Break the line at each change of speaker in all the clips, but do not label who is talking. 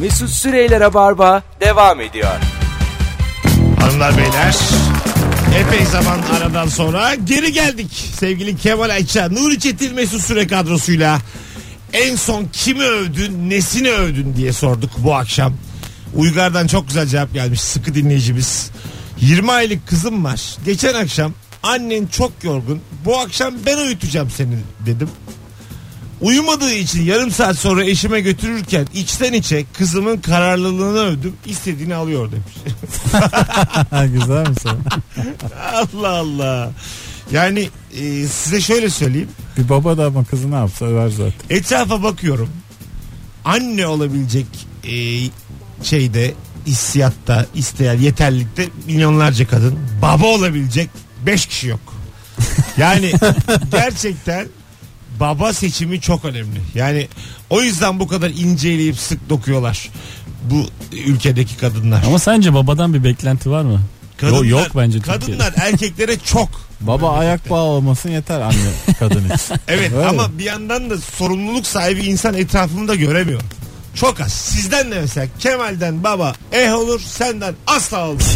Mesut Süreyler'e barba devam ediyor.
Hanımlar beyler epey zaman aradan sonra geri geldik. Sevgili Kemal Ayça, Nuri Çetin Mesut Süre kadrosuyla en son kimi övdün, nesini övdün diye sorduk bu akşam. Uygar'dan çok güzel cevap gelmiş sıkı dinleyicimiz. 20 aylık kızım var. Geçen akşam annen çok yorgun. Bu akşam ben uyutacağım seni dedim. Uyumadığı için yarım saat sonra eşime götürürken içten içe kızımın kararlılığını övdüm. İstediğini alıyor demiş.
Ha, güzel mi sen?
Allah Allah. Yani e, size şöyle söyleyeyim.
Bir baba da ama kızı ne yapsa över zaten.
Etrafa bakıyorum. Anne olabilecek e, şeyde, hissiyatta, isteyen yeterlilikte milyonlarca kadın. Baba olabilecek 5 kişi yok. Yani gerçekten baba seçimi çok önemli. Yani o yüzden bu kadar inceleyip sık dokuyorlar bu ülkedeki kadınlar.
Ama sence babadan bir beklenti var mı?
kadınlar
yok bence Türkiye'de.
Kadınlar erkeklere çok
Baba ayak bağı olmasın yeter anne kadın için.
Evet
Öyle.
ama bir yandan da sorumluluk sahibi insan etrafımı da göremiyor. Çok az. Sizden de mesela Kemal'den baba eh olur senden asla olmaz.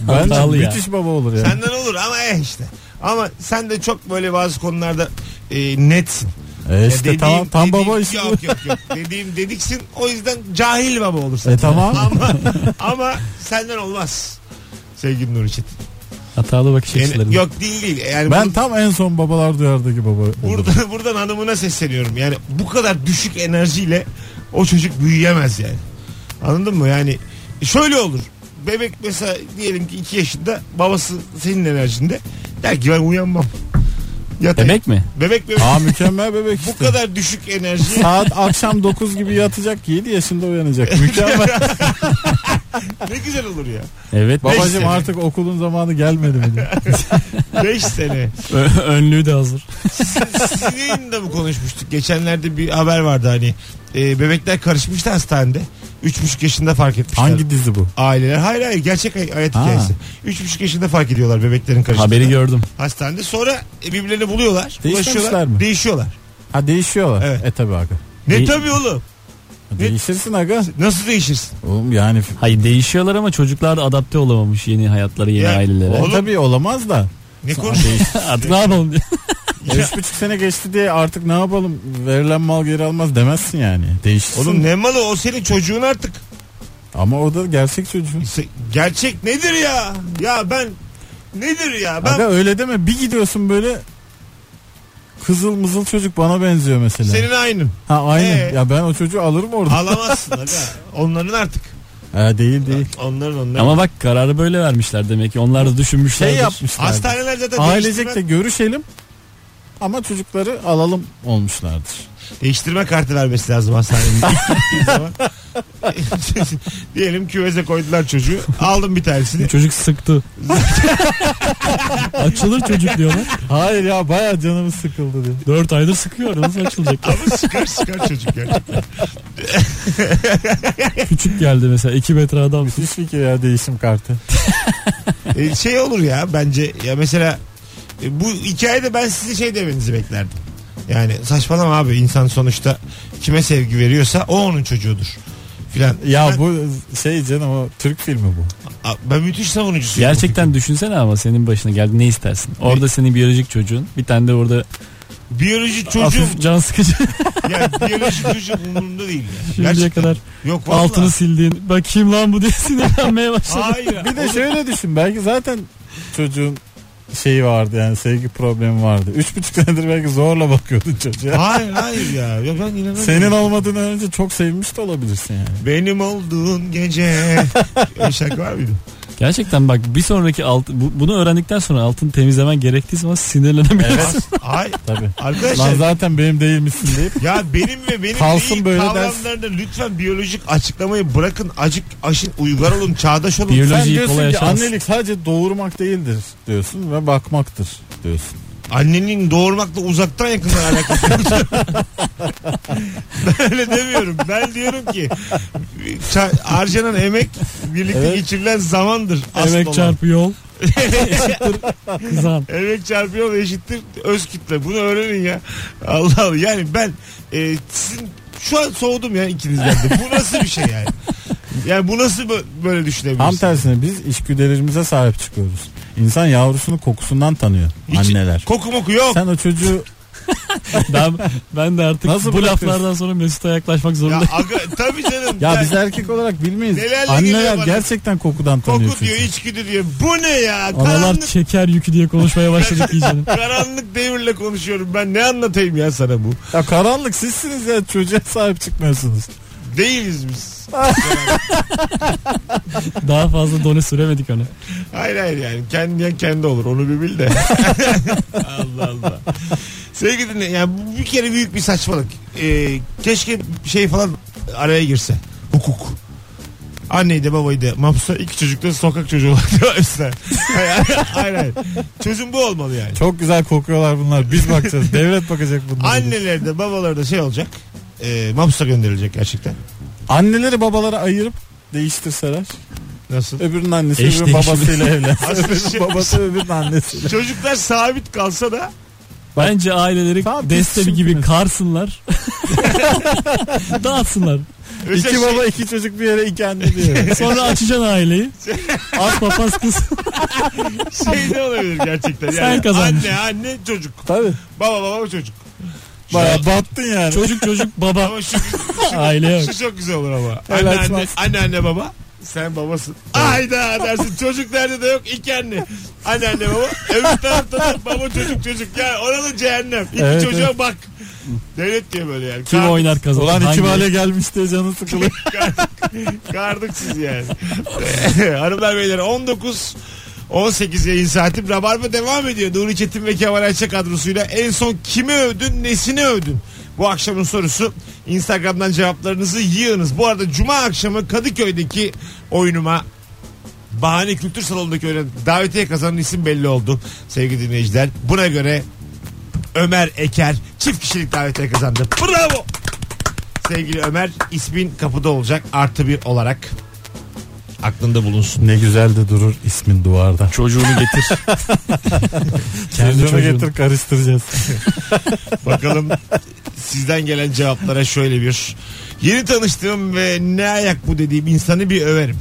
Bence
Hatalı ya.
müthiş baba olur ya.
senden olur ama eh işte. Ama sen de çok böyle bazı konularda e, netsin.
E
Ya
işte
dediğim-
tamam tam
dediğim-
baba işte.
Yok yok yok. dediğim dediksin o yüzden cahil baba olursun.
E tamam.
ama, ama senden olmaz. Sevgili Nuri Çetin.
Hatalı bakış
Yani-
açıları.
yok değil değil. Yani
ben
bunu-
tam en son babalar duyardı gibi baba. olurum.
Burada, buradan hanımına sesleniyorum. Yani bu kadar düşük enerjiyle o çocuk büyüyemez yani. Anladın mı? Yani şöyle olur. Bebek mesela diyelim ki 2 yaşında babası senin enerjinde der ki ben uyanmam. Yatayım.
Bebek mi?
Bebek bebek.
Aa mükemmel bebek
Bu
işte.
kadar düşük enerji.
Saat akşam 9 gibi yatacak 7 yaşında uyanacak. Mükemmel.
ne güzel olur ya.
Evet.
Beş
Babacım
sene.
artık okulun zamanı gelmedi mi? diyor.
5 sene.
Ö- Önlüğü de hazır.
Sizin yayında mı konuşmuştuk? Geçenlerde bir haber vardı hani. e, bebekler karışmıştı hastanede. 3,5 yaşında fark etmişler.
Hangi dizi bu?
aileler. Hayır hayır gerçek hay- hayat
Ha.
hikayesi. Üç buçuk yaşında fark ediyorlar bebeklerin karıştığını.
Haberi gördüm.
Hastanede sonra e, birbirlerini buluyorlar.
Değişmemişler
ulaşıyorlar,
mi?
Değişiyorlar.
Ha değişiyorlar.
Evet.
E tabi aga.
Ne
Değil-
tabii oğlum?
Değişirsin aga.
Nasıl değişirsin?
Oğlum yani f-
Hayır değişiyorlar ama çocuklar da adapte olamamış yeni hayatlara, yeni
Ya,
ailelere.
Oğlum-
e, tabii olamaz da.
Ne konuşuyorsun?
Artık ne yapalım diye.
Ya.
3,5 sene geçti diye artık ne yapalım verilen mal geri almaz demezsin yani. Değişsin.
Oğlum ne malı o senin çocuğun artık.
Ama o da gerçek çocuğun.
Se- Gerçek nedir ya? Ya ben nedir ya? Ben
Aga öyle deme bir gidiyorsun böyle kızıl mızıl çocuk bana benziyor mesela.
senin aynım.
Ha aynı.
Ee?
Ya ben o çocuğu alırım orada.
Alamazsın aga. Onların artık.
Ha, değil değil.
Onların onların.
Ama bak kararı böyle vermişler demek ki. Onlar da düşünmüşler.
Şey yapmışlar.
Hastaneler zaten
Ailecek de
değiştirme,
görüşelim ama çocukları alalım olmuşlardır.
değiştirme kartı vermesi lazım hastanenin. Gittiği zaman. Diyelim küveze koydular çocuğu. Aldım bir tanesini.
Çocuk sıktı. Açılır çocuk diyorlar.
Hayır ya baya canımız sıkıldı diye.
4 aydır sıkıyor. Nasıl açılacak?
Ama şey- sıkar sıkar çocuk gerçekten.
Küçük geldi mesela. 2 metre adam.
Müthiş fikir şey ya değişim kartı.
E, şey olur ya bence ya mesela e, bu hikayede ben sizi şey demenizi beklerdim. Yani saçmalama abi insan sonuçta kime sevgi veriyorsa o onun çocuğudur. Filan.
Ya
ben,
bu şey canım o Türk filmi bu.
A- ben müthiş savunucusuyum.
Gerçekten düşünsene ama senin başına geldi ne istersin? Orada senin biyolojik çocuğun. Bir tane de orada
Biyoloji çocuğum.
hafif can sıkıcı
yani biyoloji çocuğum umurumda değil. ya.
şimdiye
Gerçekten.
kadar
Yok vallahi.
altını sildiğin. Bakayım lan bu diye sinirlenmeye başladı.
Hayır.
Bir de şöyle düşün belki zaten çocuğun şeyi vardı yani sevgi problemi vardı. Üç buçuk senedir belki zorla bakıyordun çocuğa.
Hayır hayır ya. ya ben inanamıyorum.
Senin olmadığını önce çok sevmiş de olabilirsin yani.
Benim olduğun gece. Öyle şarkı var mıydı?
Gerçekten bak bir sonraki alt, bu- bunu öğrendikten sonra altını temizlemen gerektiği zaman sinirlenebilirsin.
Ay,
Tabii.
arkadaşlar
Lan zaten benim değilmişsin deyip
Ya benim ve benim
Kalsın
değil
böyle
kavramlarını lütfen biyolojik açıklamayı bırakın. Acık aşın uygar olun, çağdaş olun.
Biyolo-
sen
Biyolojiyi
diyorsun
kolay
ki
aşarsın.
annelik sadece doğurmak değildir diyorsun ve bakmaktır diyorsun.
Annenin doğurmakla uzaktan yakından alakası yok. ben öyle demiyorum. Ben diyorum ki ça- harcanan emek birlikte
Evet.
geçirilen zamandır. asıl
Emek
olan.
çarpı yol. Eşittir kızan.
Emek çarpı yol eşittir öz kitle. Bunu öğrenin ya. Allah Allah. Yani ben e, sizin Şu an soğudum ya ikinizden de. Bu nasıl bir şey yani? Yani bu nasıl bö- böyle düşünebilirsin?
Tam tersine biz işgüderimize sahip çıkıyoruz. İnsan yavrusunu kokusundan tanıyor
Hiç
anneler.
Koku moku yok.
Sen o çocuğu
Ben, ben de artık
Nasıl
bu
bırakıyorsun?
laflardan sonra Mesut'a yaklaşmak
Ya
zorundayım.
aga, tabii canım.
ya
Ben-
biz erkek olarak bilmeyiz.
Nelerle geliyor
Anneler
bana?
gerçekten kokudan tanıyor
Koku
çünkü.
diyor, içgüdü diyor. Bu ne ya?
Analar
Karanlık,
çeker yükü diye konuşmaya başladık iyice.
karanlık devirle konuşuyorum ben. Ne anlatayım ya sana bu?
Ya karanlık sizsiniz ya çocuğa sahip çıkmıyorsunuz.
Değiliz biz.
Daha fazla done süremedik ona.
Hayır hayır yani. Kendiyen kendi olur. Onu bir bil de. Allah Allah. Sevgili dinle, yani bu bir kere büyük bir saçmalık. Ee, keşke şey falan araya girse. Hukuk. Anneyi de babayı da mahpusa iki çocuk da sokak çocuğu olarak devam etsinler. Hayır, hayır, hayır. Çözüm bu olmalı yani.
Çok güzel kokuyorlar bunlar. Biz bakacağız. Devlet bakacak bunlara.
Anneler de babalar da şey olacak. E, mahpusa gönderilecek gerçekten.
Anneleri babalara ayırıp değiştirseler.
Nasıl?
Öbürünün annesi
Eş
öbürünün
değişimi.
babasıyla evlense.
Aslında
öbürünün
şey-
babası öbürünün annesiyle.
Çocuklar sabit kalsa da
Bence aileleri
Tamam,
deste
biz
gibi
çirkiniz.
karsınlar. Dağıtsınlar.
mesela
İki
şey-
baba iki çocuk bir yere iki anne diyor.
Sonra açacaksın aileyi. Az papaz kız.
şey de olabilir gerçekten. Yani
Sen kazandın.
Anne anne çocuk.
Tabii.
Baba baba çocuk.
Baya battın yani.
Çocuk çocuk baba.
Ama şu,
Aile yok.
şu çok güzel olur ama. Anne
Helal
anne,
olsun.
anne anne baba. Sen babasın. Ayda dersin çocuk nerede de yok iki anne. Anne anne baba. Öbür tarafta da baba çocuk çocuk. Ya oralı cehennem. İki
Evet,
çocuğa bak. Devlet diye böyle yani.
Kim
Kardık-
oynar kazanır?
Ulan
Hangi-
iki hale gelmiş diye canı sıkılıyor.
Kardıksız yani. Hanımlar beyler 19 18 yayın saati Rabarba devam ediyor. Nuri Çetin ve Kemal Ayça kadrosuyla en son kimi övdün, nesini övdün? Bu akşamın sorusu. Instagram'dan cevaplarınızı yığınız. Bu arada Cuma akşamı Kadıköy'deki oyunuma Bahane Kültür Salonu'ndaki oyuna davetiye kazanan isim belli oldu sevgili dinleyiciler. Buna göre Ömer Eker çift kişilik davetiye kazandı. Bravo! Sevgili Ömer ismin kapıda olacak artı bir olarak aklında bulunsun.
Ne güzel de durur ismin duvarda.
Çocuğunu getir. Kendi
Kendi
çocuğunu.
getir karıştıracağız.
Bakalım sizden gelen cevaplara şöyle bir yeni tanıştığım ve ne ayak bu dediğim insanı bir överim.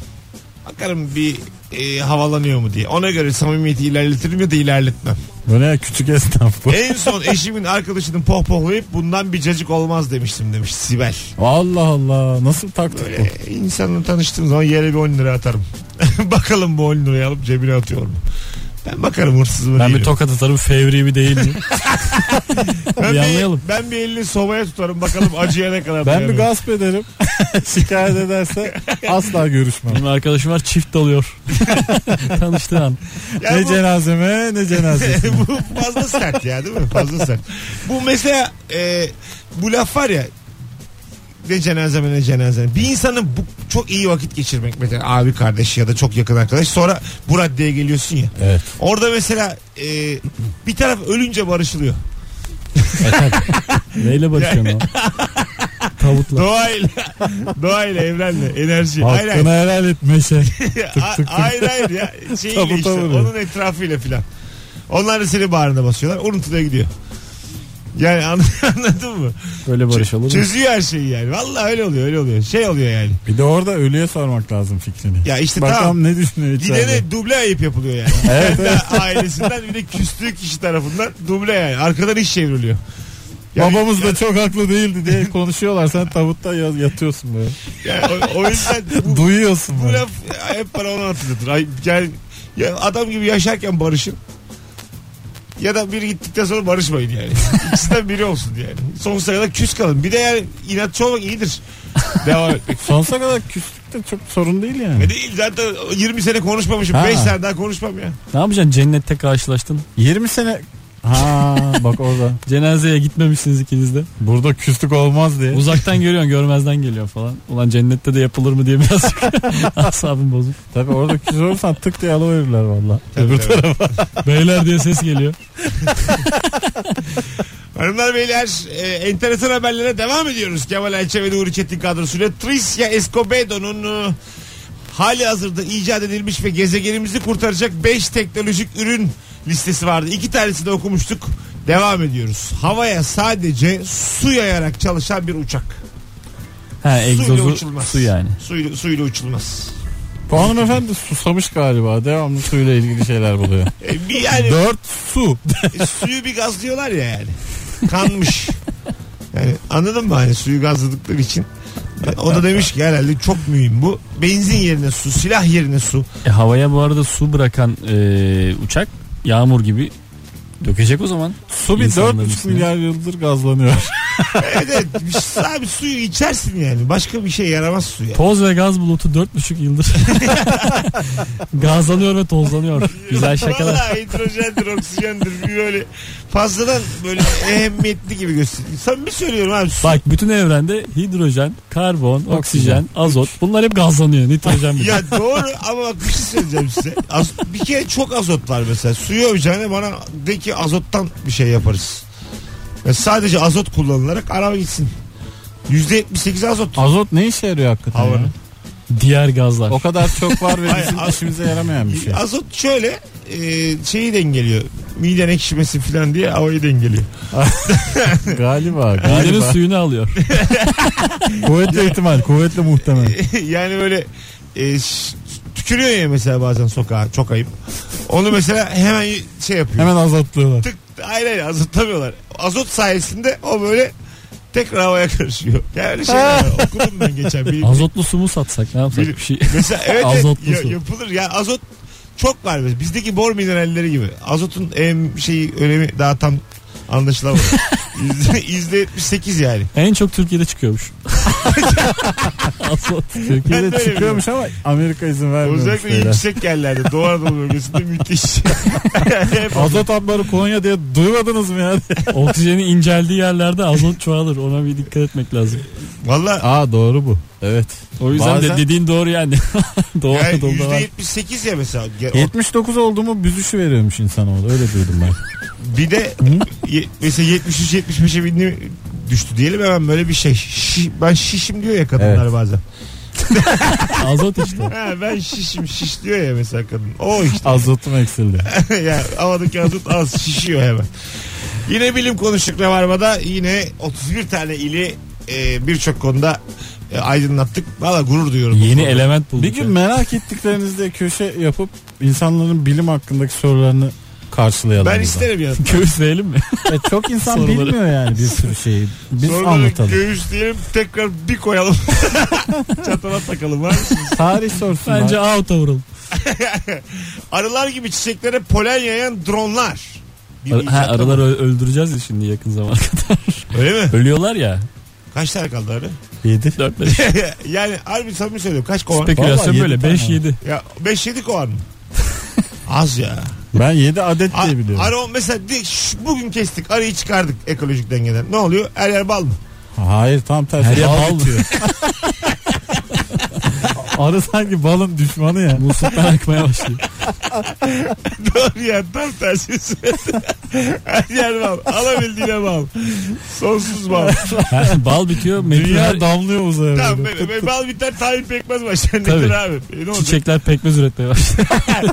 Bakarım bir e, havalanıyor mu diye. Ona göre samimiyeti ilerletirim ya da ilerletmem.
Bu ne küçük esnaf bu.
En son eşimin arkadaşının pohpohlayıp bundan bir cacık olmaz demiştim demiş Sibel.
Allah Allah nasıl taktık bu?
Böyle E, insanla tanıştığım zaman yere bir 10 lira atarım. Bakalım bu 10 lirayı alıp cebine atıyor mu? Ben bakarım hırsız mı
Ben
değil
bir
mi?
tokat atarım fevri mi değil mi?
ben,
bir
bir,
anlayalım.
ben bir elini sobaya tutarım bakalım acıya ne kadar
Ben bir
dayanıyor.
gasp ederim. Şikayet ederse asla görüşmem.
Benim arkadaşım var çift dalıyor. Tanıştığı an.
Ya
ne
bu-
cenazeme ne cenazesi.
bu fazla sert ya değil mi? Fazla sert. Bu mesela e, bu laf var ya ne cenazeme ne cenazeme. Bir insanın bu çok iyi vakit geçirmek mesela abi kardeşi ya da çok yakın arkadaş sonra bu raddeye geliyorsun ya.
evet.
Orada mesela e, bir taraf ölünce barışılıyor.
Neyle barışıyorsun o? Tavutla.
Doğayla. Doğayla evrenle enerji. Hayır hayır.
Hakkını helal et meşe.
A- hayır hayır ya. Şeyle
Tabu
işte
tabu.
onun etrafıyla filan. Onlar da seni bağrına basıyorlar. Unutuluyor gidiyor. Yani an- anladın mı?
Böyle barış olur mu?
Çözüyor her şeyi yani. Vallahi öyle oluyor öyle oluyor. Şey oluyor yani.
Bir de orada ölüye sormak lazım fikrini.
Ya işte
Bakalım
tamam.
ne düşünüyor içeride.
Gidene duble ayıp yapılıyor yani.
Evet,
Kendi ailesinden bir de küstüğü kişi tarafından duble yani. Arkadan iş çevriliyor. Yani-
Babamız da çok haklı değildi diye konuşuyorlar. Sen tavutta ya- yatıyorsun böyle.
yani o, o yüzden bu,
Duyuyorsun
bu
böyle.
laf hep bana onu hatırlatır. Ay, Yani ya adam gibi yaşarken barışın. Ya da biri gittikten sonra barışmayın yani. İkisinden biri olsun yani. Sonsuza kadar küs kalın. Bir de yani inatçı olmak iyidir. Devam etmek.
Sonsuza kadar küslük de çok sorun değil yani.
Ve değil zaten 20 sene konuşmamışım.
Ha.
5 sene daha konuşmam ya.
Ne yapacaksın cennette karşılaştın.
20 sene Ha bak orada.
Cenazeye gitmemişsiniz ikiniz de.
Burada küslük olmaz diye.
Uzaktan görüyorsun görmezden geliyor falan. Ulan cennette de yapılır mı diye biraz asabım bozuk.
Tabii orada küs olursan tık diye alıverirler valla. Öbür
tabii.
taraf.
Beyler diye ses geliyor.
Hanımlar beyler e, enteresan haberlere devam ediyoruz. Kemal Ayça ve Nuri Çetin kadrosuyla Tricia Escobedo'nun e, hali hazırda icat edilmiş ve gezegenimizi kurtaracak 5 teknolojik ürün listesi vardı. İki tanesini okumuştuk. Devam ediyoruz. Havaya sadece su yayarak çalışan bir uçak.
Ha
suyla
egzozu
uçulmaz.
su yani.
Suyla, suyla uçulmaz.
Bu hanımefendi susamış galiba. Devamlı suyla ilgili şeyler buluyor.
E, bir yani
Dört su.
E, suyu bir gazlıyorlar ya yani. Kanmış. Yani anladın mı hani suyu gazladıkları için. E, O da demiş ki herhalde çok mühim bu. Benzin yerine su, silah yerine su.
E, havaya bu arada su bırakan e, uçak yağmur gibi dökecek o zaman.
Su bir
İnsanların
dört buçuk
içine.
milyar yıldır gazlanıyor.
Evet, evet. Bir şey- Abi suyu içersin yani. Başka bir şey yaramaz su yani.
Toz ve gaz bulutu 4,5 yıldır. Gazlanıyor ve tozlanıyor. Güzel şakalar.
Valla hidrojendir, oksijendir. Bir böyle fazladan böyle ehemmiyetli gibi gösteriyor. Sen bir söylüyorum abi. Su
Bak bütün evrende hidrojen, karbon, oksijen, azot bunlar hep gazlanıyor. Nitrojen bile.
Ya doğru ama bak bir şey söyleyeceğim size. Az, bir kere çok azot var mesela. Suyu öveceğine bana de ki azottan bir şey yaparız. Ya sadece azot kullanılarak araba gitsin. %78 azot.
Azot ne işe yarıyor hakikaten ya?
Havanın.
Diğer gazlar.
O kadar çok var ve
Hayır,
bizim
az-
işimize yaramayan bir şey.
Azot şöyle e, şeyi dengeliyor. Miden ekşimesi falan diye havayı dengeliyor.
Galiba
Midenin
galiba.
suyunu alıyor.
kuvvetli ihtimal kuvvetli muhtemel.
yani böyle e, ş- tükürüyor ya mesela bazen sokağa çok ayıp. Onu mesela hemen şey yapıyor.
Hemen azotluyorlar.
tık hayır hayır azotlamıyorlar. Azot sayesinde o böyle tekrar havaya karışıyor. Yani öyle şeyler var. okudum ben geçen. Bilim,
Azotlu su mu satsak ne yapsak
Bilim-
bir şey.
Mesela evet
Azotlu
evet,
su.
ya- yapılır ya azot çok var biz- bizdeki bor mineralleri gibi. Azotun em, şeyi önemi daha tam anlaşılamadı. Yüzde- Yüzde 78 yani.
En çok Türkiye'de çıkıyormuş. Azot.
Ben de
Türkiye'de
öyle
çıkıyormuş ama Amerika izin vermiyor.
Özellikle yüksek yerlerde Doğu Anadolu bölgesinde müthiş. Hep
Azot ambarı Konya diye duymadınız mı ya?
Oksijenin inceldiği yerlerde azot çoğalır. Ona bir dikkat etmek lazım.
Valla
Aa doğru bu. Evet.
O yüzden
Bazen-
de dediğin doğru yani. Doğu
yani
Anadolu'da var.
%78 ya mesela. Ya o-
79 oldu mu büzüşü veriyormuş insanoğlu. Öyle duydum ben.
Bir de ye- mesela 73 75'e bindi düştü diyelim hemen böyle bir şey. Şiş- ben şişim diyor ya kadınlar
Evet.
bazen.
Azot işte.
Ha, ben şişim şiş diyor ya mesela kadın. O işte.
Azotum eksildi.
ya havadaki azot az şişiyor hemen. Yine bilim konuştuk Rabarba'da yine 31 tane ili e, birçok konuda e, aydınlattık. Valla gurur duyuyorum.
Yeni element bulduk.
Bir gün
yani.
merak ettiklerinizde köşe yapıp insanların bilim hakkındaki sorularını karşılayalım.
Ben
burada.
isterim ya.
Göğüsleyelim mi?
E, çok insan
Soruları.
bilmiyor yani bir sürü şeyi. Biz
Soruları
anlatalım.
göğüs diyelim tekrar bir koyalım. Çatala takalım var mısınız?
Tarih sorsunlar.
Bence out'a vuralım.
Arılar gibi çiçeklere polen yayan dronlar. Bir
Ar- Ha,
icat ama.
arıları ö- öldüreceğiz ya şimdi yakın zamanda.
Öyle mi?
Ölüyorlar ya.
Kaç tane kaldı arı?
7.
4 5
yani harbi samimi söylüyorum. Kaç kovan?
spekülasyon
Vallahi
böyle
yedi tane
5
var.
7.
ya 5-7 kovan mı? Az ya.
Ben 7 adet
A-
diye biliyorum.
arı mesela di- şu- bugün kestik. Arıyı çıkardık ekolojik dengeden. Ne oluyor? Her yer bal mı?
Hayır tam tersi.
Her yer
Bal
bal.
bitiyor. Arı sanki balın düşmanı ya.
Musluktan akmaya başlıyor.
Doğru ya tam tersi. Her yer bal. Alabildiğine bal. Sonsuz bal.
Ha, bal bitiyor.
Dünya
Meteor
damlıyor uzaya.
tamam be-
böyle.
be- bal biter tahin pekmez başlar. Nedir
Tabii.
abi? E, ne olacak?
çiçekler pekmez üretmeye başlıyor.
Hayır,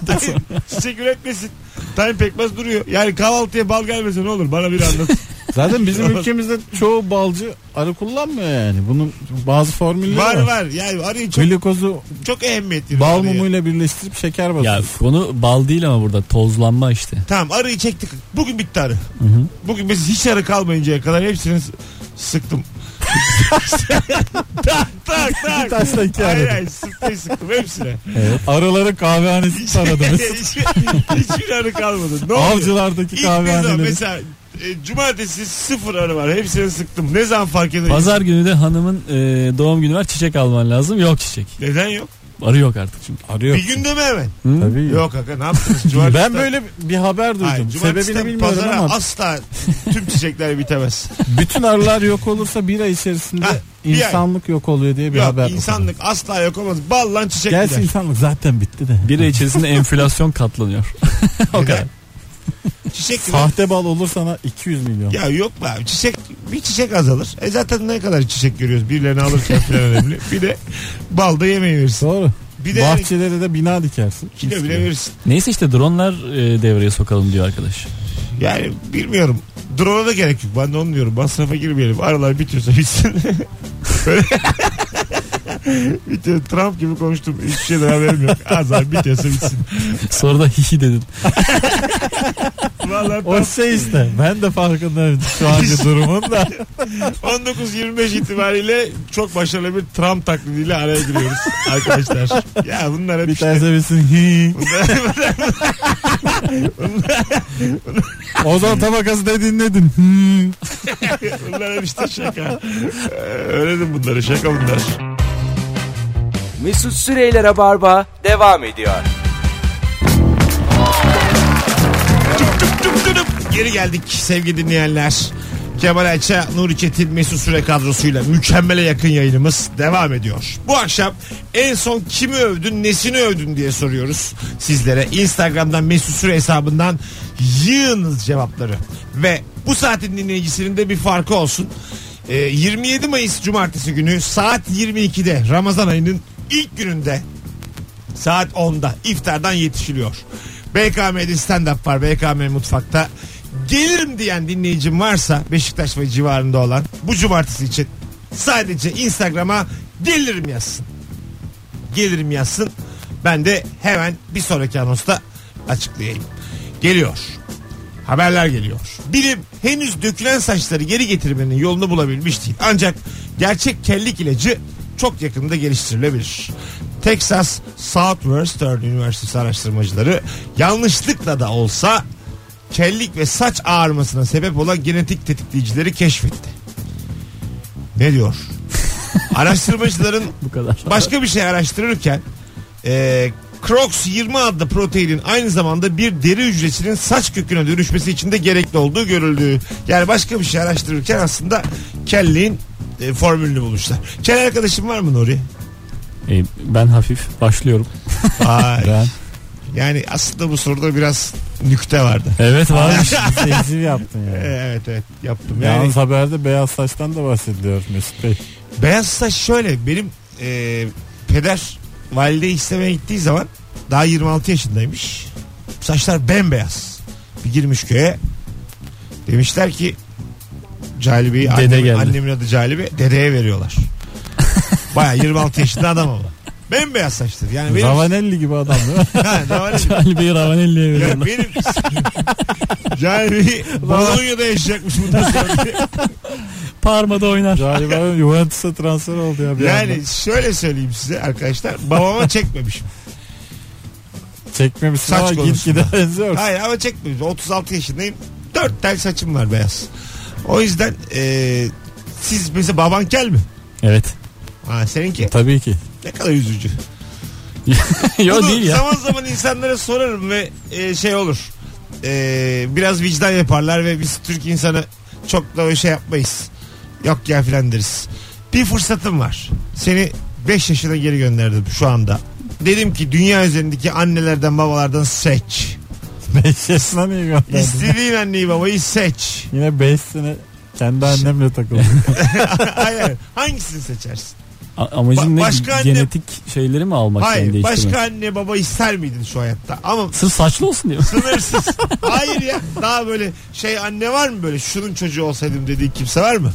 Çiçek üretmesin. Tahin pekmez duruyor. Yani kahvaltıya bal gelmesin ne olur bana bir anlat.
Zaten bizim ülkemizde çoğu balcı arı kullanmıyor yani. Bunun bazı formülleri var.
var var. Yani arıyı çok
Glikozu
çok ehemmiyetli.
bal
arıya.
mumuyla birleştirip şeker
ya
basıyorsun.
konu bal değil ama burada tozlanma işte.
Tamam arıyı çektik. Bugün bitti arı. Bugün biz hiç arı kalmayıncaya kadar hepsini s- sıktım. tak tak
Bir
tak.
taşla iki
Hayır
arı.
hayır sıktım sıktım hepsine.
Arıların kahvehanesini taradınız.
Hiçbir, hiçbir arı kalmadı. Ne oldu?
Avcılardaki
İlk ne zaman
kahvehaneleri.
mesela e, cumartesi sıfır arı var. Hepsini sıktım. Ne zaman fark edeyim?
Pazar günü de hanımın e, doğum günü var. Çiçek alman lazım. Yok çiçek.
Neden yok?
Arı yok artık çünkü.
Arı yok.
Bir günde mi hemen?
Hı?
Tabii.
Yok aga ne yaptınız?
Ben
Cumartesi-
böyle bir haber duydum.
Hayır,
Sebebini
cumartesiden
bilmiyorum
pazara
ama
asla tüm çiçekler bitemez.
bütün arılar yok olursa bir ay içerisinde
Ha, bir ay.
insanlık yok oluyor diye bir
Yok,
haber.
insanlık asla yok olmaz. Bal lan çiçek
Gerçi
gider.
insanlık zaten bitti de.
Bir ay içerisinde enflasyon katlanıyor. o kadar.
Çiçek gider.
Sahte bal olur sana 200 milyon.
Ya yok be abi çiçek bir çiçek azalır. E zaten ne kadar çiçek görüyoruz birilerini alırken falan önemli. Bir de bal da yemeği verirsin.
Doğru.
Bir de yani
Bahçelere de bina dikersin.
kilo bile verirsin.
Neyse işte dronlar e, devreye sokalım diyor arkadaş.
Yani bilmiyorum. Drone'a da gerek yok. Ben de onu diyorum. Masrafa girmeyelim. Aralar bitiyorsa bitsin. Böyle- Bitiyor. Trump gibi konuştum. Hiçbir şeyden haberim yok. Az abi bitiyorsa bitsin.
Sonra da hihi dedin.
Vallahi tam
O şey işte. Ben de farkındayım şu anki durumun da.
19-25 itibariyle çok başarılı bir Trump taklidiyle araya giriyoruz arkadaşlar. Ya bunlar hep
Bir
işte.
tanesi bilsin. hi. Ozan tabakası dediğini dinledin. Hı.
Bunlar hep işte şaka. Ee, Öğrendim bunları şaka bunlar.
Mesut Süreyler'e barba devam ediyor.
Tıp tıp tıp tıp. Geri geldik sevgili dinleyenler. Kemal Ayça, Nuri Çetin, Mesut Süre kadrosuyla mükemmele yakın yayınımız devam ediyor. Bu akşam en son kimi övdün, nesini övdün diye soruyoruz sizlere. Instagram'dan Mesut Süre hesabından yığınız cevapları. Ve bu saatin dinleyicisinin de bir farkı olsun. Ee, 27 Mayıs Cumartesi günü saat 22'de Ramazan ayının ilk gününde Saat 10'da iftardan yetişiliyor. BKM'de stand-up var. BKM mutfakta. Gelirim diyen dinleyicim varsa Beşiktaş ve civarında olan bu cumartesi için sadece Instagram'a gelirim yazsın. Gelirim yazsın. Ben de hemen bir sonraki anonsta açıklayayım. Geliyor. Haberler geliyor. Bilim henüz dökülen saçları geri getirmenin yolunu bulabilmiş değil. Ancak gerçek kellik ilacı çok yakında geliştirilebilir. Texas Southwestern Üniversitesi araştırmacıları yanlışlıkla da olsa kellik ve saç ağarmasına sebep olan genetik tetikleyicileri keşfetti. Ne diyor? Araştırmacıların
Bu kadar.
Başka bir şey araştırırken e, Crocs 20 adlı proteinin aynı zamanda bir deri hücresinin saç köküne dönüşmesi için de gerekli olduğu görüldü. Yani başka bir şey araştırırken aslında kelliğin e, formülünü bulmuşlar. Kel arkadaşım var mı Nuri?
E, ben hafif başlıyorum.
Ay.
Ben.
yani aslında bu soruda biraz nükte vardı.
Evet varmış.
Seziv yaptın
E,
yani.
Evet evet yaptım. Yani
Yalnız haberde beyaz saçtan da bahsediliyor Mesut Bey.
Beyaz saç şöyle benim e, peder valideyi istemeye gittiği zaman daha 26 yaşındaymış. Saçlar bembeyaz. Bir girmiş köye. Demişler ki Calibi
Dede
annemin,
geldi.
annemin adı Calibi dedeye veriyorlar. Baya 26 yaşında adam ama. Bembeyaz saçtır. Yani benim,
Ravanelli gibi adam değil mi?
Ha, Ravanelli.
Ali Bey Ravanelli'ye
Ya
veriyorum.
benim Calibi Bolonya'da yaşayacakmış bundan sonra.
Parmada oynar.
Galiba Juventus'a transfer oldu ya bir yani...
Yani şöyle söyleyeyim size arkadaşlar. Babama çekmemişim.
Çekmemişsin
Saç
ama gitgide
konusunda.
benziyor.
Hayır ama çekmiyorum. 36 yaşındayım. 4 tel saçım var beyaz. O yüzden e, siz mesela baban kel mi?
Evet.
Ha, seninki
Tabii ki.
ne kadar üzücü.
Yo
Bunu
değil ya.
Zaman zaman insanlara sorarım ve e, şey olur. E, biraz vicdan yaparlar ve biz Türk insanı çok da öyle şey yapmayız. Yok ya filan deriz. Bir fırsatım var. Seni 5 yaşına geri gönderdim şu anda. Dedim ki dünya üzerindeki annelerden babalardan seç.
5 yaşına niye gönderdin?
İstediğin anneyi babayı seç.
Yine 5 sene kendi annemle takıldım.
Hayır. Hangisini seçersin?
A- Amacın
Ba-
ne?
başka anne-
Genetik şeyleri mi almak? yani
Hayır.
değiştirmek?
Başka anne baba ister miydin şu hayatta? Ama
Sırf saçlı olsun diyor.
sınırsız. Hayır ya. Daha böyle şey anne var mı böyle şunun çocuğu olsaydım dediği kimse var mı?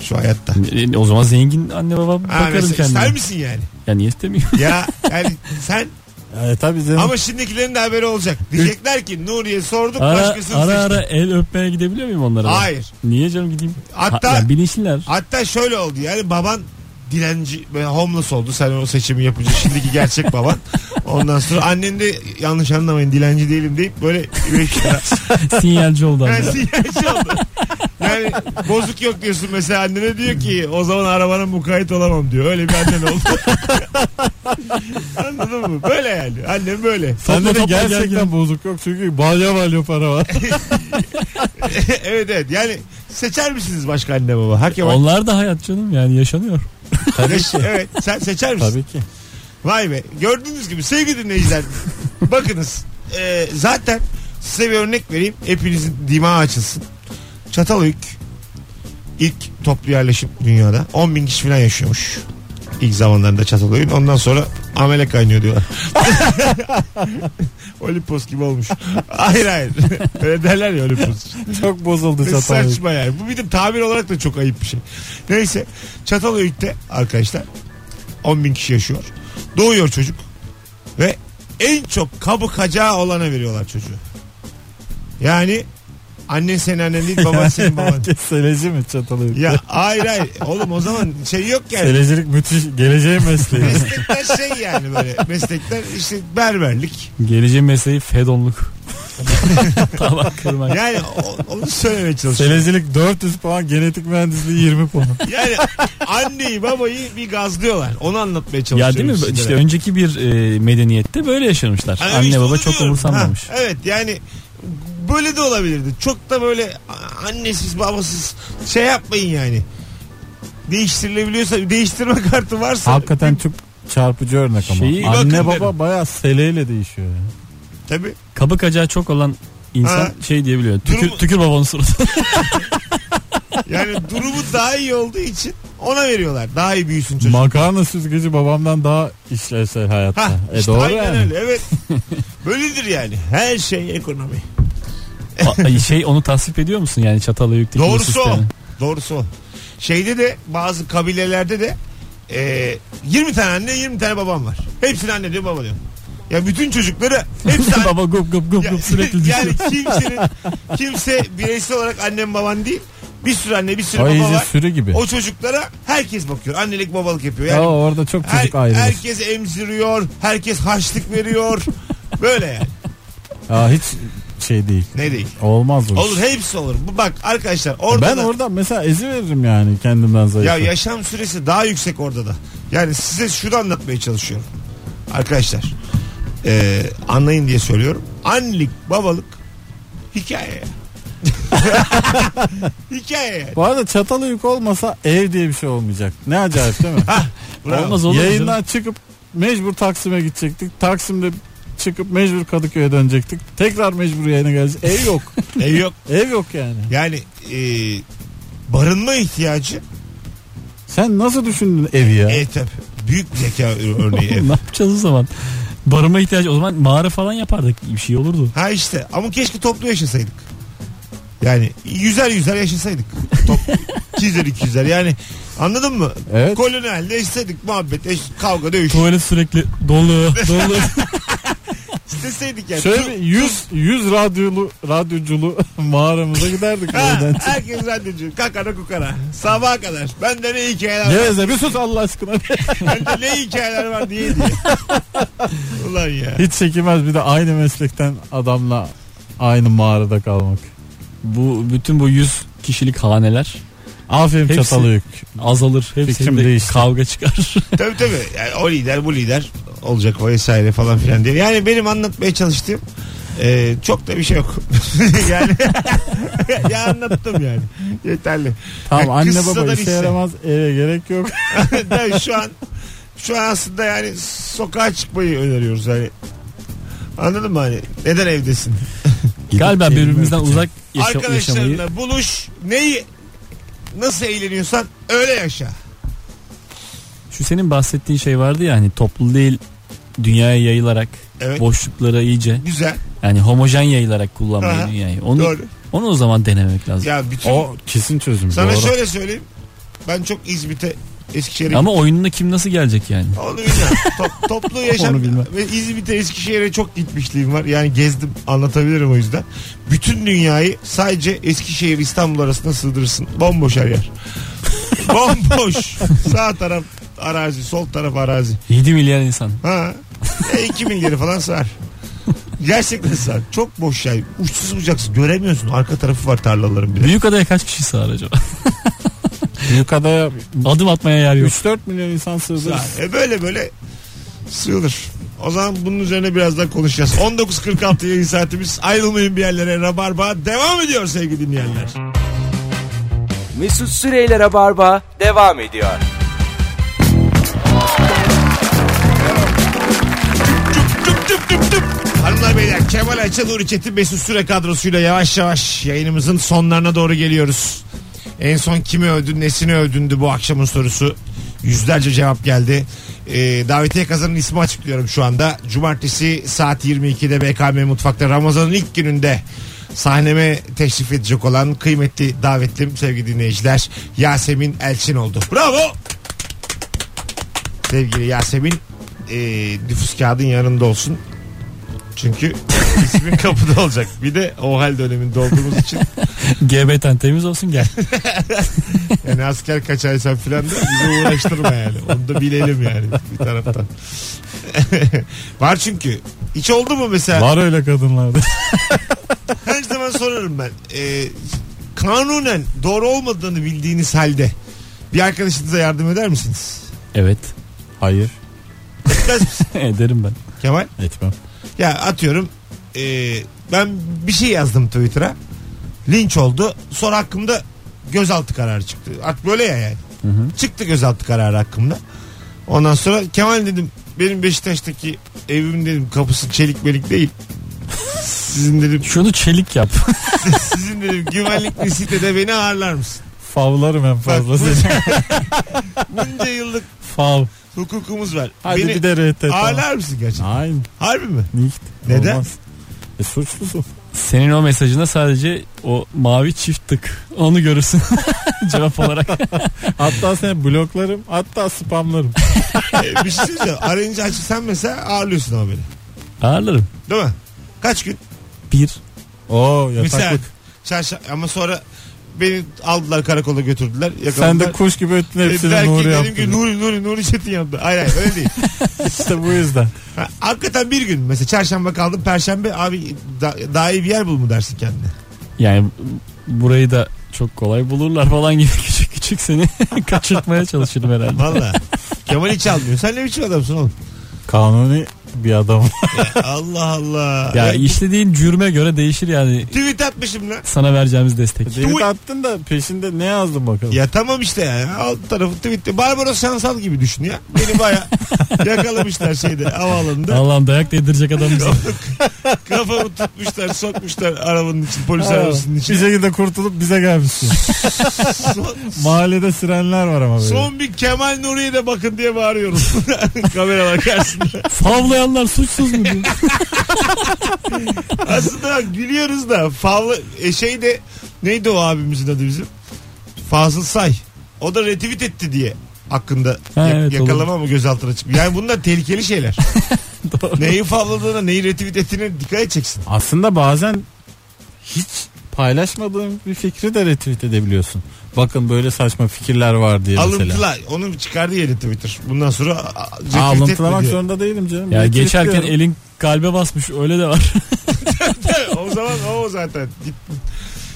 Şu hayatta.
E, o zaman zengin anne baba
Ha,
bakarım
mesela ister
kendime.
misin yani?
Ya niye istemiyorum?
Ya yani sen
yani tabii canım.
ama şimdikilerin de haberi olacak. Diyecekler ki Nuriye sorduk
Ara
başkasını
ara,
seçtik.
ara el öpmeye gidebiliyor muyum onlara?
Hayır.
Niye canım gideyim?
Hatta-
ya bilinçliler.
Hatta şöyle oldu yani baban dilenci böyle homeless oldu. Sen o seçimi yapınca şimdiki gerçek baban. Ondan sonra annen de yanlış anlamayın dilenci değilim deyip böyle beş lira-
Sinyalci oldu anne.
Yani sinyalci oldu. Yani bozuk yok diyorsun mesela annene diyor ki o zaman arabana mukayyet olamam diyor. Öyle bir annen oldu. Anladın mı? Böyle yani. Annem böyle.
Sende de
Topla topla
gerçekten
gergin.
bozuk yok çünkü balya balya para var.
evet evet. Yani seçer misiniz başka anne baba? Hakem
Onlar da hayat canım yani yaşanıyor.
tabii ki.
Evet. Sen seçer misin?
Tabii ki.
Vay be. Gördüğünüz gibi sevgili dinleyiciler. bakınız. e, zaten size bir örnek vereyim. Hepinizin dimağı açılsın. Çatalhöyük ilk toplu yerleşim dünyada 10 bin kişi falan yaşıyormuş. İlk zamanlarında Çatalhöyük'ün. Ondan sonra Amele kaynıyor diyorlar. Olimpos gibi olmuş. Hayır hayır. Öyle derler ya Olimpos.
Çok bozuldu
Ne
çatal.
Saçma yani. Bu bir de tabir olarak da çok ayıp bir şey. Neyse. Çatalhöyük'te arkadaşlar 10 bin kişi yaşıyor. Doğuyor çocuk. Ve en çok kabı kacağı olana veriyorlar çocuğu. Yani annen senin annen değil baban senin baban.
Herkes seleci mi çatalı?
ya hayır hayır. Oğlum o zaman şey yok yani.
Selecilik müthiş geleceğin mesleği.
Meslekler şey yani böyle. Meslekler işte berberlik.
Geleceğin mesleği fedonluk. Tabak kırmak.
Yani o- onu söylemeye çalışıyorum.
Selecilik 400 puan, genetik mühendisliği 20 puan.
Yani anneyi babayı bir gazlıyorlar. Onu anlatmaya
Ya
çalışıyorum.
değil mi?
sizlere.
İşte önceki bir e, medeniyette böyle yaşamışlar.
Hani
Anne
işte
baba
onu
çok
diyorum.
umursanmamış.
Ha, evet yani böyle de olabilirdi. Çok da böyle a- annesiz babasız şey yapmayın yani. Değiştirilebiliyorsa değiştirme kartı varsa
Hakikaten çok çarpıcı örnek ama.
Şeyi-
Anne
Bakın
baba
derim.
bayağı seleyle değişiyor. Yani.
tabii.
Kabı kacağı çok olan insan
Ha.
şey diyebiliyor. Tükür,
Durumu-
tükür babanın suratına.
Yani durumu daha iyi olduğu için ona veriyorlar. Daha iyi büyüsün çocuk.
Makarna süzgeci babamdan daha işlevsel hayatta.
Ha,
e
işte
doğru
aynen
yani.
öyle. Evet. Böyledir yani. Her şey ekonomi.
Ay, şey onu tasvip ediyor musun yani çatalı yüklü
Doğrusu o.
sistemi?
Doğrusu o. Şeyde de bazı kabilelerde de e, 20 tane anne 20 tane babam var. Hepsini anne diyor baba diyor. Ya bütün çocukları hepsi anne.
Baba gup gup gup
Ya-
gup sürekli düşüyor.
yani kimsenin kimse bireysel olarak annem baban değil. Bir sürü anne bir sürü
O
baba
iyice
var.
sürü gibi.
O çocuklara herkes bakıyor. Annelik babalık yapıyor.
Ya
Yani
orada çok
her-
çocuk ayrılır.
herkes emziriyor. Herkes harçlık veriyor. Böyle yani.
Ya hiç şey değil.
Ne değil.
Olmaz bu. iş.
Olur hepsi olur. Bu bak arkadaşlar orada
Ben
da-
oradan mesela ezi veririm yani kendimden zayıf.
Ya yaşam süresi daha yüksek orada da. Yani size şunu anlatmaya çalışıyorum. Arkadaşlar. Ee, anlayın diye söylüyorum. Annelik, babalık hikaye. hikaye yani.
Bu arada çatalı yük olmasa ev diye bir şey olmayacak. Ne acayip değil mi?
Bravo.
Olmaz olur mu
Yayından
canım?
çıkıp mecbur Taksim'e gidecektik. Taksim'de çıkıp mecbur Kadıköy'e dönecektik. Tekrar mecbur yayına geleceğiz. Ev yok.
Ev E, yok.
Ev yok yani.
Yani e, barınma ihtiyacı
Sen nasıl düşündün evi ya?
e, tabii. büyük bir zeka örneği ev.
ne yapacağız o zaman? Barınma ihtiyacı o zaman mağara falan yapardık bir şey olurdu.
Ha işte ama keşke toplu yaşasaydık. Yani yüzer yüzer yaşasaydık. Top, 200'er 200'er yani anladın mı?
Evet.
Koloni halinde yaşasaydık muhabbet, eş, kavga, dövüş.
Tuvalet sürekli dolu dolu.
İsteseydik yani.
Şöyle
Tu-
bir 100 100 radyolu radyoculu mağaramıza giderdik
Ha,
oradan.
herkes radyocu. Kakara kukara. Sabaha kadar. Bende ne hikayeler var.
Geveze bir sus Allah aşkına.
Bende ne hikayeler var diye diye. Ulan ya.
Hiç çekilmez bir de aynı meslekten adamla aynı mağarada kalmak.
bu bütün bu 100 kişilik haneler
Aferin
Hepsi-
çatalı yük.
azalır.
Fikrim
Hepsinde
değişti.
kavga çıkar.
tabii tabii. Yani o lider bu lider olacak vesaire falan filan diye. Yani benim anlatmaya çalıştığım e, çok da bir şey yok. yani ya anlattım yani. Yeterli.
Tamam
Ya
anne
kızsa da
baba işe
bitse.
yaramaz eve gerek yok.
Ben şu an şu an aslında yani sokağa çıkmayı öneriyoruz hani. Anladın mı hani? Neden evdesin?
Galiba
Gidip
birbirimizden
elimi
uzak yaşa- yaşamayı.
Arkadaşlarınla buluş. Neyi nasıl eğleniyorsan öyle yaşa.
Şu senin bahsettiğin şey vardı ya hani toplu değil dünyaya yayılarak
Evet.
boşluklara iyice
Güzel.
yani homojen yayılarak kullanmayı
Aha,
dünyayı. Onu
Doğru.
onu o zaman denemek lazım.
Ya bütün
O kesin çözüm.
sana
doğru.
şöyle söyleyeyim. Ben çok İzmit'e Eskişehir'e
Ama oyununa kim nasıl gelecek yani?
Onu bilmem. Top- toplu yaşam
Onu bilmem.
ve İzmit'e Eskişehir'e çok gitmişliğim var. Yani gezdim anlatabilirim o yüzden. Bütün dünyayı sadece Eskişehir İstanbul arasında sığdırırsın. Bomboş her yer. Bomboş. Sağ taraf arazi, sol taraf arazi.
7 milyar insan.
Ha. E, 2 milyarı falan sığar. Gerçekten sığar. Çok boş yer. Uçsuz bucaksız. Göremiyorsun. Arka tarafı var tarlaların bile.
Büyük adaya kaç kişi sığar acaba? Ee,
Yukarıda
Adım atmaya yer yok.
3-4 milyon insan sığdırır.
Sığar. E böyle böyle sığılır. O zaman bunun üzerine birazdan konuşacağız. 19.46 yayın saatimiz. Ayrılmayın bir yerlere. Rabarba devam ediyor sevgili dinleyenler.
Mesut Süreyler'e barba devam ediyor.
Tüp tüp tüp tüp. Hanımlar beyler Kemal Ayça, Nuri Çetin, Mesut Süre kadrosuyla yavaş yavaş yayınımızın sonlarına doğru geliyoruz. En son kimi övdün, nesini övdündü bu akşamın sorusu. Yüzlerce cevap geldi. Ee, davetiye kazanın ismi açıklıyorum şu anda. Cumartesi saat 22'de BKM Mutfak'ta Ramazan'ın ilk gününde sahneme teşrif edecek olan kıymetli davetlim sevgili dinleyiciler Yasemin Elçin oldu. Bravo! Sevgili Yasemin e, nüfus kağıdın yanında olsun. Çünkü ismin kapıda olacak. Bir de o hal döneminde olduğumuz için
GB'ten temiz olsun gel.
yani asker kaçaysan filan da bizi uğraştırma yani. Onu da bilelim yani bir taraftan. Var çünkü. Hiç oldu mu mesela?
Var öyle kadınlarda.
Her zaman sorarım ben. Ee, kanunen doğru olmadığını bildiğiniz halde bir arkadaşınıza yardım eder misiniz?
Evet.
Hayır.
Etmez misin
Ederim ben.
Kemal?
Etmem.
Ya atıyorum e, ben bir şey yazdım Twitter'a. Linç oldu. Sonra hakkımda gözaltı kararı çıktı. Artık böyle ya yani. Çıktı gözaltı kararı hakkımda. Ondan sonra Kemal dedim benim Beşiktaş'taki evim dedim kapısı çelik melik değil. Sizin dedim
Şunu çelik yap.
sizin dedim güvenlikli sitede beni ağırlar mısın?
Favlarım en fazla
Bak, bu-
seni.
Bunca yıllık
Fav.
hukukumuz var.
Hadi
beni
bir de RT.
ağırlar mısın gerçekten?
Nein.
Harbi mi?
Nicht.
Neden?
Olmaz. E, suçlusun.
Senin o mesajına sadece o mavi çift tık. Onu görürsün cevap olarak.
Hatta seni bloklarım. Hatta spamlarım.
E, bir şey söyleyeceğim. Arayınca açık sen mesela ağırlıyorsun ama beni.
Ağırlarım.
Değil mi? Kaç gün?
Bir.
Oo
Mesela
yataklık.
çarşa ama sonra beni aldılar karakola götürdüler.
Sen
yakaladılar.
de kuş gibi öttün
Dediler
hepsini
ki,
Nuri
dedim
yaptın.
ki Nuri Nuri Nuri Çetin yaptı. Hayır hayır öyle değil.
İşte bu yüzden.
Ha, hakikaten bir gün mesela çarşamba kaldım perşembe abi da- daha iyi bir yer bul mu dersin kendine.
Yani burayı da çok kolay bulurlar falan gibi küçük küçük seni kaçırtmaya çalışırım herhalde.
Valla. Kemal hiç almıyor. Sen ne biçim adamsın oğlum?
Kanuni bir adam.
Allah Allah.
Ya
Ya,
işlediğin cürme göre değişir yani
tweet atmışım lan.
sana vereceğimiz destek.
Tweet attın da peşinde ne yazdın bakalım.
Ya tamam işte ya. Alt tarafı tweette. Barbaros Şansal gibi düşün ya. Beni baya yakalamışlar şeyde havaalanında.
Allah'ım dayak değdirecek adam bize.
Kafamı tutmuşlar, sokmuşlar arabanın için, polis
Ha,
arabasının
bir
içine.
şekilde kurtulup bize gelmişsin.
Son,
Mahallede sirenler var ama böyle.
son bir Kemal Nuri'ye de bakın diye bağırıyorum. Kameralar karşısında.
Favlayanlar suçsuz mu? diyor?
Aslında gülüyoruz da favlı e şey de neydi o abimizin adı bizim? Fazıl Say. O da retweet etti diye hakkında
Ha,
ya-
evet,
yakalama mı gözaltına çıkıyor. Yani bunlar tehlikeli şeyler. neyi favladığına neyi retweet ettiğine dikkat edeceksin.
Aslında bazen hiç paylaşmadığın bir fikri de retweet edebiliyorsun. Bakın böyle saçma fikirler var diye mesela.
Alıntıla. Onu çıkardı ya Twitter. Bundan sonra a- a- retweet
Aa, Alıntılamak
etme diye.
zorunda değilim canım.
ya
Retweet
geçerken
diyorum.
elin kalbe basmış öyle de var.
o zaman o zaten.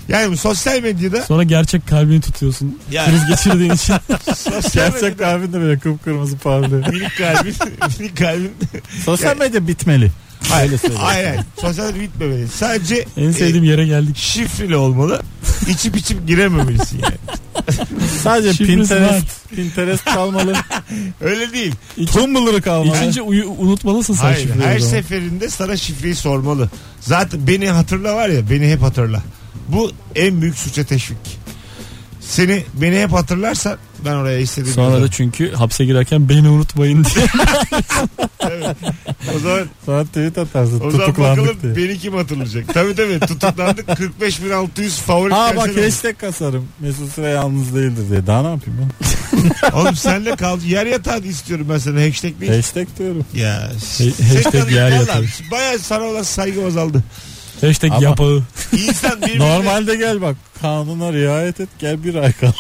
Yani sosyal medyada
Sonra gerçek kalbini tutuyorsun.
Ya.
Kriz geçirdiğin için.
sosyal
Gerçek
medyada
kalbin de böyle kıpkırmızı parlıyor.
minik kalbin minik kalbin
Sosyal medya bitmeli. Öyle söyleyeyim.
aynen sosyal medya bitmemeli. Sadece
En sevdiğim yere
e,
geldik.
şifreli olmalı. İçip içip girememelisin yani.
Sadece
Şifresi
Pinterest, Pinterest kalmalı.
Öyle değil.
Tumblr kalmalı.
İkinci uyu- unutmalısın sen
Hayır,
şifreyi o
her
zaman.
seferinde sana şifreyi sormalı. Zaten beni hatırla var ya beni hep hatırla. Bu en büyük suça teşvik. Seni beni hep hatırlarsan ben oraya istediğim
Sonra da
zaman-
çünkü hapse girerken beni unutmayın diye.
o zaman
Sonra tweet atarsın
O zaman bakalım
tutuklandık diye.
beni kim hatırlayacak? tabii tabii tutuklandık 45.600 favori şey
Ha
personel.
bak hashtag kasarım. Mesut Süre yalnız değildir diye. Daha ne yapayım ben?
Oğlum senle kal yer yatağı da istiyorum ben sana hashtag değil.
hashtag diyorum.
ya.
hashtag yer yatağı.
Baya sana olan saygı azaldı.
Hashtag
Ama-
yapağı.
İnsan birbirine
Normalde gel bak. Kanuna riayet et. Gel bir ay kal.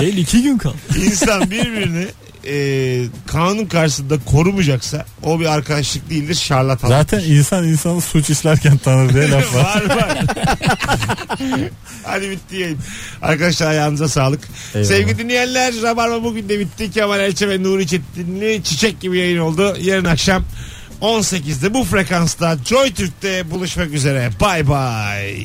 Değil iki gün kal.
insan birbirini e, kanun karşısında korumayacaksa o bir arkadaşlık değildir şarlatan.
Zaten insan insanı suç işlerken tanır diye laf var.
var var. Hadi bitti yayın. Arkadaşlar ayağınıza sağlık.
Eyvallah.
Sevgili dinleyenler Rabarba bugün de bitti. Kemal Elçe ve Nuri Çetinli çiçek gibi yayın oldu. Yarın akşam 18'de bu frekansta Joy Türk'te buluşmak üzere. Bay bay.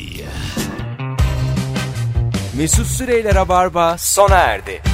Mesut Süreyler'e barba sona erdi.